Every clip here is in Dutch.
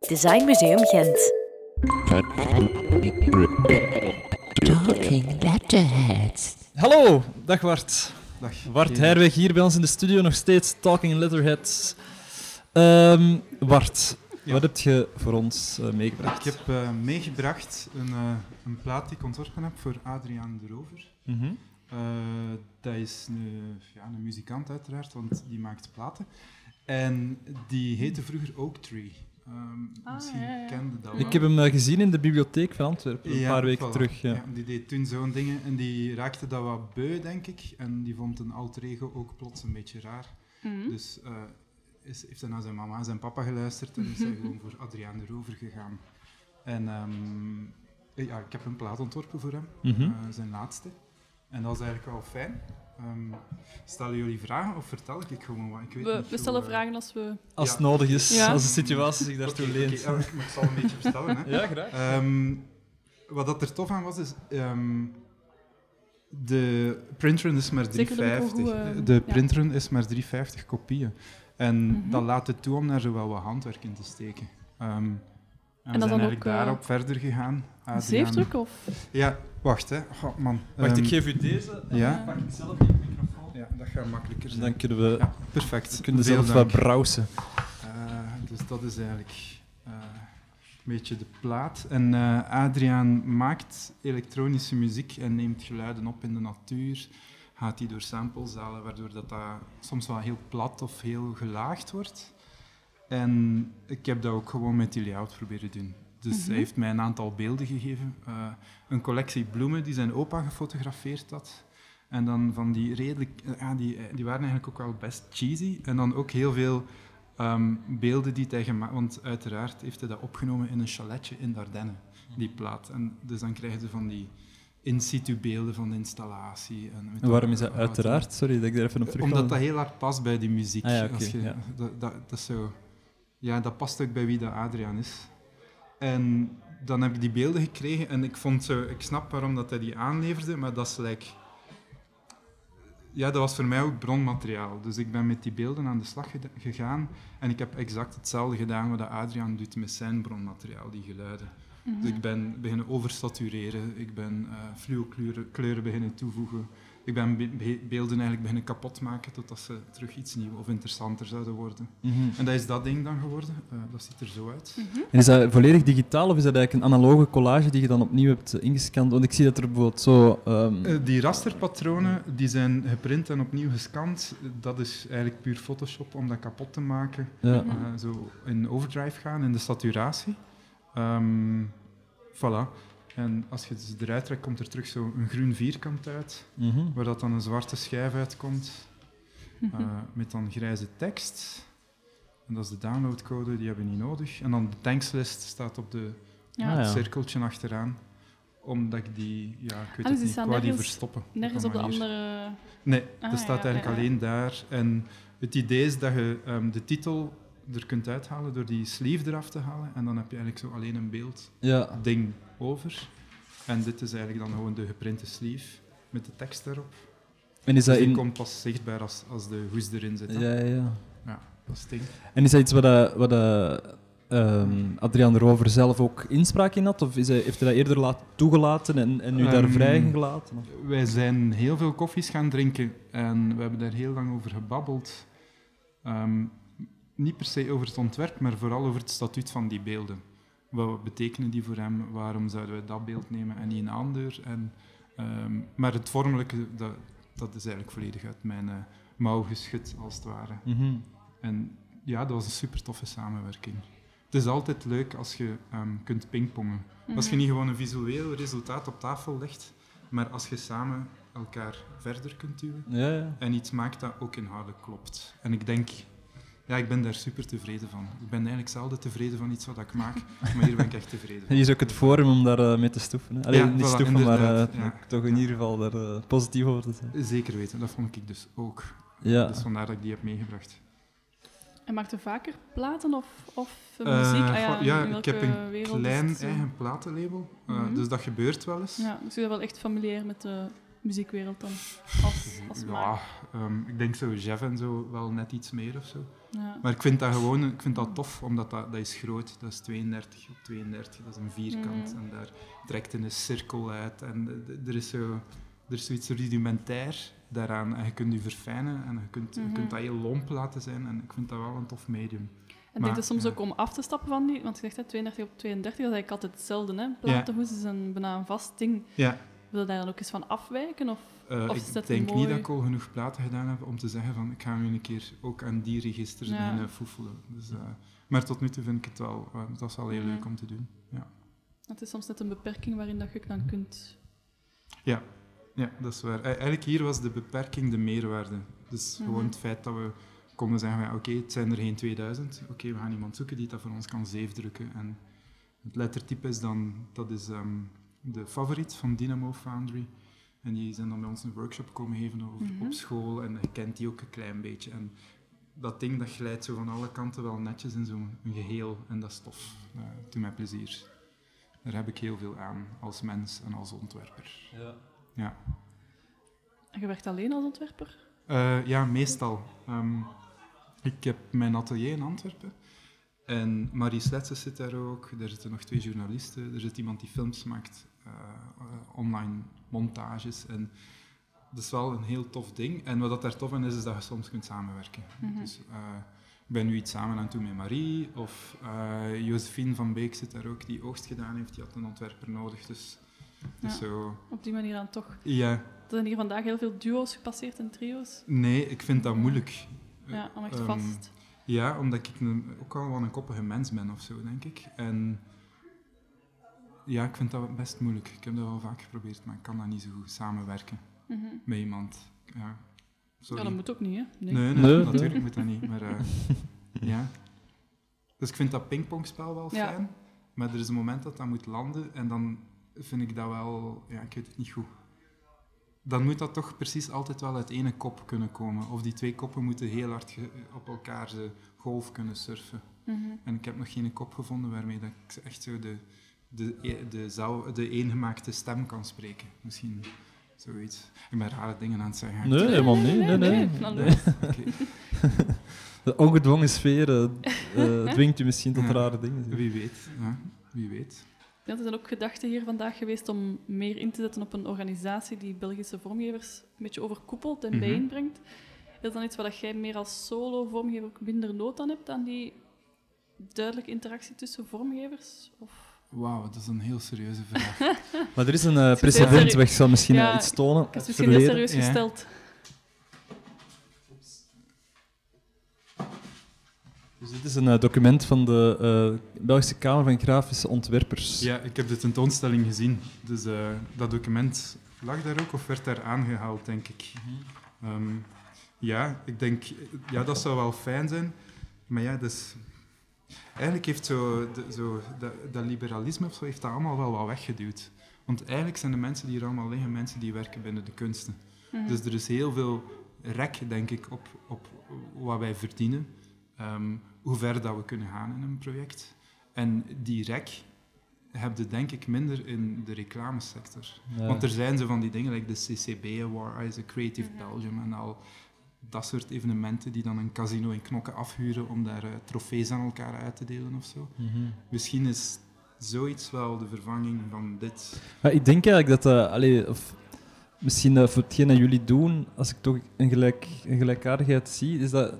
Design Museum Gent. Talking letterheads. Hallo, dag Wart. Dag. Wart Herweg hier bij ons in de studio, nog steeds Talking Letterheads. Ehm Wart, Ja. wat heb je voor ons eh, meegebracht? Ik heb eh, meegebracht een, eh, een plaat die ik ontworpen heb voor Adriaan de Rover. Mhm. Eh, dat is een, ja, een muzikant uiteraard, want die maakt platen. En die heette vroeger Oak Tree. Ehm, misschien kende dat wel. Ik heb hem eh, gezien in de bibliotheek van Antwerpen, een Ja, paar weken voilà. terug. Ja. die deed toen zo'n dingen en die raakte dat wat beu, denk ik. En die vond een alter ego ook plots een beetje raar. Mhm. Dus eh, is, heeft hij naar zijn mama en zijn papa geluisterd en is hij Mhm. gewoon voor Adriaan de Rover gegaan. En ehm, eh, ja, ik heb een plaat ontworpen voor hem, Mhm. eh, zijn laatste. En dat is eigenlijk wel fijn. Ehm, stellen jullie vragen of vertel ik gewoon wat? Ik weet We, niet we zo, stellen eh, vragen als we... Als Ja. het nodig is, Ja. als de situatie zich daartoe oké, leent. oké, eh, maar ik zal een beetje vertellen. Hè. Ja, graag. Ehm, wat dat er tof aan was, is... ehm, de printrun is maar Zeker de 350. microhoe, de eh, de ja. printrun is maar 350 kopieën. En Mhm. dat laat het toe om daar zowel wat handwerk in te steken. Ehm, en dat we dan zijn ook, eigenlijk eh, daarop verder gegaan. Een Adriaan- zeefdruk of... Ja, wacht hè. Oh, man. Wacht, Ehm, ik geef u deze en ja. dan pak ik zelf die microfoon. Ja, dat gaat makkelijker Dus zijn. dan kunnen we Ja, perfect. kunnen Veel zelf dank. wat browsen. Eh, dus dat is eigenlijk eh, een beetje de plaat. En eh, Adriaan maakt elektronische muziek en neemt geluiden op in de natuur. Gaat die door samplezalen, waardoor dat, dat soms wel heel plat of heel gelaagd wordt. En ik heb dat ook gewoon met die layout proberen doen. Dus hij heeft mij een aantal beelden gegeven. eh, een collectie bloemen die zijn opa gefotografeerd had. En dan van die redelijk... eh, Ja, die, eh, die waren eigenlijk ook wel best cheesy. En dan ook heel veel ehm, beelden die hij gemaakt... Want uiteraard heeft hij dat opgenomen in een chaletje in Dardenne, die plaat. En dus dan krijg je van die in-situ beelden van de installatie. En, weet En waarom is dat wat er- uiteraard? Sorry dat ik daar even op terugkom. omdat dat heel hard past bij die muziek. Ah ja, oké, Als je- ja. dat, dat, dat is zo... Ja, dat past ook bij wie dat Adriaan is. En dan heb ik die beelden gekregen en ik vond zo... Ik snap waarom dat hij die aanleverde, maar dat is like... Ja, dat was voor mij ook bronmateriaal. Dus ik ben met die beelden aan de slag geda- gegaan en ik heb exact hetzelfde gedaan wat dat Adriaan doet met zijn bronmateriaal, die geluiden. Mhm. Dus ik ben beginnen oversatureren, ik ben eh fluokleuren kleuren beginnen toevoegen. Ik ben be- be- beelden eigenlijk beginnen kapotmaken totdat ze terug iets nieuws of interessanter zouden worden. Mhm. En dat is dat ding dan geworden. Eh, dat ziet er zo uit. En is dat volledig digitaal of is dat eigenlijk een analoge collage die je dan opnieuw hebt eh, ingescand? Want ik zie dat er bijvoorbeeld zo... ehm, Eh, die rasterpatronen die zijn geprint en opnieuw gescand. Dat is eigenlijk puur Photoshop om dat kapot te maken. ja. Eh, zo in overdrive gaan, in de saturatie. Ehm voilà. En als je ze eruit trekt, komt er terug zo'n groen vierkant uit. Mhm. waar dat dan een zwarte schijf uitkomt Mhm. eh, met dan grijze tekst. En dat is de downloadcode, die hebben we niet nodig. En dan de tankslist staat op de Ja. Ah, het cirkeltje achteraan, omdat ik die, ja, ik weet Ah, dus het die niet, staan ik wou die nergens- verstoppen. Nergens op de een manier. andere... Nee, Ah, dat staat ja, eigenlijk ja, ja. alleen daar. En het idee is dat je ehm, de titel er kunt uithalen door die sleeve eraf te halen. En dan heb je eigenlijk zo alleen een beeld ja. ding over. En dit is eigenlijk dan gewoon de geprinte sleeve met de tekst erop. En is dat Dus die in... komt pas zichtbaar als, als de hoes erin zit. hè. Ja, ja, ja. Dat is het ding. En is dat iets wat, eh, wat eh, ehm, Adriaan de Rover zelf ook inspraak in had? Of is hij, heeft hij dat eerder laat, toegelaten en, en nu daar Ehm, vrij in gelaten? Of- Wij zijn heel veel koffies gaan drinken en we hebben daar heel lang over gebabbeld. Ehm, niet per se over het ontwerp, maar vooral over het statuut van die beelden. Wat betekenen die voor hem? Waarom zouden wij dat beeld nemen en niet een ander? En, ehm, maar het vormelijke, dat, dat is eigenlijk volledig uit mijn eh, mouw geschud, als het ware. Mhm. En ja, dat was een super toffe samenwerking. Het is altijd leuk als je ehm, kunt pingpongen. Mhm. Als je niet gewoon een visueel resultaat op tafel legt, maar als je samen elkaar verder kunt duwen Ja, ja. en iets maakt dat ook inhoudelijk klopt. En ik denk, ja, ik ben daar super tevreden van. Ik ben eigenlijk zelden tevreden van iets wat ik maak, maar hier ben ik echt tevreden En van. hier is ook het forum om daar eh, mee te stoeven. hè. Allee, Ja, niet voilà, stoeven, maar inderdaad, eh, ja. toch in Ja. ieder geval daar eh, positief over te zijn. Zeker weten, dat vond ik dus ook. Ja. Dus vandaar dat ik die heb meegebracht. En maakt u vaker platen of, of muziek? Eh, Ah goh, in ja, welke ik heb een wereld is klein het zo? eigen platenlabel, eh, Mhm. dus dat gebeurt wel eens. Ja, dus u bent wel echt familiair met de muziekwereld dan? Als, als Ja, maker? ehm, ik denk zo Jeff en zo wel net iets meer of zo. Ja. Maar ik vind dat gewoon ik vind dat tof, omdat dat, dat is groot. Dat is 32 op 32, dat is een vierkant. Mhm. En daar trekt in een cirkel uit. En d- d- er is, zo, er is zoiets rudimentair daaraan. En je kunt je verfijnen en je kunt, je Mhm. kunt dat heel lomp laten zijn. En ik vind dat wel een tof medium. En ik Maar, denk dat soms ja. ook om af te stappen van die, want je zegt hè, 32 op 32, dat is eigenlijk altijd hetzelfde. Hè? Platenhoes is een, bijna een vast ding. Ja. Wil je daar dan ook eens van afwijken? Of, Eh, Of is ik dat denk mooi? niet dat ik al genoeg platen gedaan heb om te zeggen van ik ga nu een keer ook aan die registers Ja. beginnen foefelen. Dus, eh, maar tot nu toe vind ik het wel, eh, dat is wel heel Mhm. leuk om te doen. het is soms net een beperking waarin dat je dan kunt... Ja, dat is waar. E- Eigenlijk hier was de beperking de meerwaarde. Dus Mhm. gewoon het feit dat we konden zeggen van oké, het zijn er geen 2000. Oké, we gaan iemand zoeken die dat voor ons kan zeefdrukken. En het lettertype is dan, dat is ehm, de favoriet van Dynamo Foundry. En die zijn dan bij ons een workshop komen geven over, Mhm. op school en je kent die ook een klein beetje. En dat ding dat glijdt zo van alle kanten wel netjes in zo'n geheel en dat is tof. Eh, Het doet mij plezier. Daar heb ik heel veel aan als mens en als ontwerper. En je werkt alleen als ontwerper? Eh, ja, meestal. Ehm, ik heb mijn atelier in Antwerpen. En Marie Sletsen zit daar ook. Er zitten nog twee journalisten. Er zit iemand die films maakt, eh, eh, online montages. En dat is wel een heel tof ding. En wat dat daar tof aan is, is dat je soms kunt samenwerken. Mhm. Dus eh, ik ben nu iets samen aan het doen met Marie. Of eh Josephine van Beek zit daar ook, die oogst gedaan heeft. Die had een ontwerper nodig. Dus, dus Ja. zo. Op die manier dan toch. Ja, Er zijn hier vandaag heel veel duo's gepasseerd en trio's. nee, ik vind dat moeilijk. Ja, om echt Ehm, vast. Ja, omdat ik een- ook wel wel een koppige mens ben of zo, denk ik. En ja, ik vind dat best moeilijk. Ik heb dat wel vaak geprobeerd, maar ik kan dat niet zo goed samenwerken Mhm. met iemand. Ja, sorry. Ja, dat moet ook niet, hè? nee, nee, Nee. natuurlijk moet dat niet. Maar eh, ja. Dus ik vind dat pingpongspel wel Ja. fijn. Maar er is een moment dat dat moet landen en dan vind ik dat wel, ja, ik weet het niet goed. Dan moet dat toch precies altijd wel uit ene kop kunnen komen. Of die twee koppen moeten heel hard ge- op elkaar ze golf kunnen surfen. Mhm. En ik heb nog geen kop gevonden waarmee dat ik echt zo de, de, e- de, zou, de eengemaakte stem kan spreken. Misschien zoiets. Ik ben rare dingen aan het zeggen. Nee, helemaal niet. Nee, nee. Dan- Nee. Oké, De ongedwongen sfeer eh, eh, dwingt u misschien tot Ja. rare dingen. Wie weet. Ja, wie weet. Ja, er zijn ook gedachten hier vandaag geweest om meer in te zetten op een organisatie die Belgische vormgevers een beetje overkoepelt en Mhm. bijeenbrengt. Is dat dan iets waar dat jij meer als solo-vormgever ook minder nood aan hebt, aan die duidelijke interactie tussen vormgevers? Of... Wauw, dat is een heel serieuze vraag. Maar er is een eh, precedent serieus. weg, zal misschien Ja, eh, iets tonen. Ik heb uit het het misschien heel verleden. Ja. serieus gesteld. Dus dit is een eh, document van de eh, Belgische Kamer van Grafische Ontwerpers. ja, ik heb de tentoonstelling gezien. Dus eh, dat document lag daar ook of werd daar aangehaald, denk ik. Ehm, ja, ik denk, ja, dat zou wel fijn zijn. Maar ja, dus, eigenlijk heeft zo, de- zo dat, dat liberalisme of zo, heeft dat allemaal wel wat weggeduwd. Want eigenlijk zijn de mensen die hier allemaal liggen, mensen die werken binnen de kunsten. Mhm. Dus er is heel veel rek, denk ik, op, op wat wij verdienen. ehm, hoe ver dat we kunnen gaan in een project. En die rek heb je denk ik minder in de reclamesector. Ja. Want er zijn zo van die dingen, like de CCB Award, ah, de Creative Mhm. Belgium en al dat soort evenementen die dan een casino in knokken afhuren om daar eh, trofees aan elkaar uit te delen of zo. Mhm. Misschien is zoiets wel de vervanging van dit. Maar ik denk eigenlijk dat, eh, allee, of misschien eh, voor hetgeen dat jullie doen, als ik toch een, gelijk, een gelijkaardigheid zie, is dat,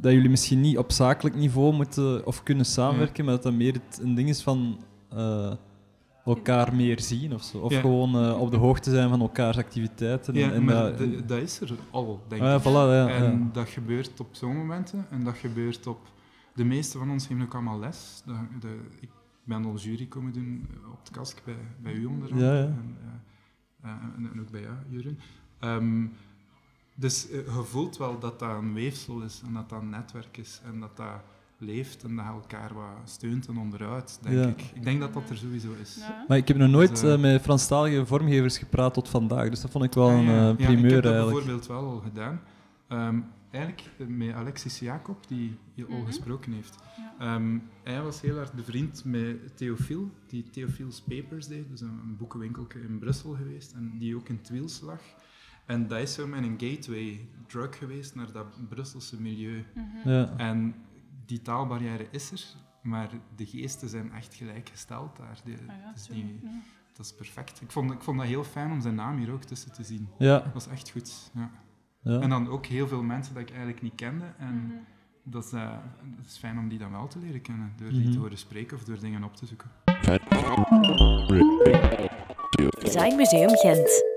dat jullie misschien niet op zakelijk niveau moeten of kunnen Hmm. samenwerken, maar dat dat meer het- een ding is van eh, elkaar meer zien of zo. Of Ja. gewoon eh, op de hoogte zijn van elkaars activiteiten. en- Ja, en maar dat- de- dat is er al, denk Ah, ja, ik. voilà, ja, ja. En dat gebeurt op zo'n momenten en dat gebeurt op. De meeste van ons geven ook allemaal les. De, de, ik ben al jury komen doen eh, op het kask bij, bij u onder andere. Ja, ja. En, eh, eh, en, en ook bij jou, Jeroen. Ehm, dus eh, je voelt wel dat dat een weefsel is en dat dat een netwerk is en dat dat leeft en dat je elkaar wat steunt en onderuit, denk Ja. ik. Ik denk dat dat er sowieso is. Ja. Maar ik heb nog nooit Dus, eh, eh, met Franstalige vormgevers gepraat tot vandaag, dus dat vond ik wel Ah, een ja. eh, Ja, primeur ik heb dat eigenlijk. bijvoorbeeld wel al gedaan. Ehm, eigenlijk eh, met Alexis Jacob, die je al Mhm. gesproken heeft. Ja. Ehm, hij was heel hard bevriend met Theofiel, die Theofiel's Papers deed, dus een, een boekenwinkelke in Brussel geweest, en die ook in het Wiels lag. En dat is zo mijn gateway drug geweest naar dat Brusselse milieu. Mhm. Ja. En die taalbarrière is er, maar de geesten zijn echt gelijkgesteld daar. De- Ah ja, het is zo, niet- ja. dat is perfect. Ik vond, ik vond dat heel fijn om zijn naam hier ook tussen te zien. Ja. Dat was echt goed. Ja. En ja. dan ook heel veel mensen dat ik eigenlijk niet kende. En Mhm. dat, is, eh, dat is fijn om die dan wel te leren kennen. Door die Mhm. te horen spreken of door dingen op te zoeken. Designmuseum Gent.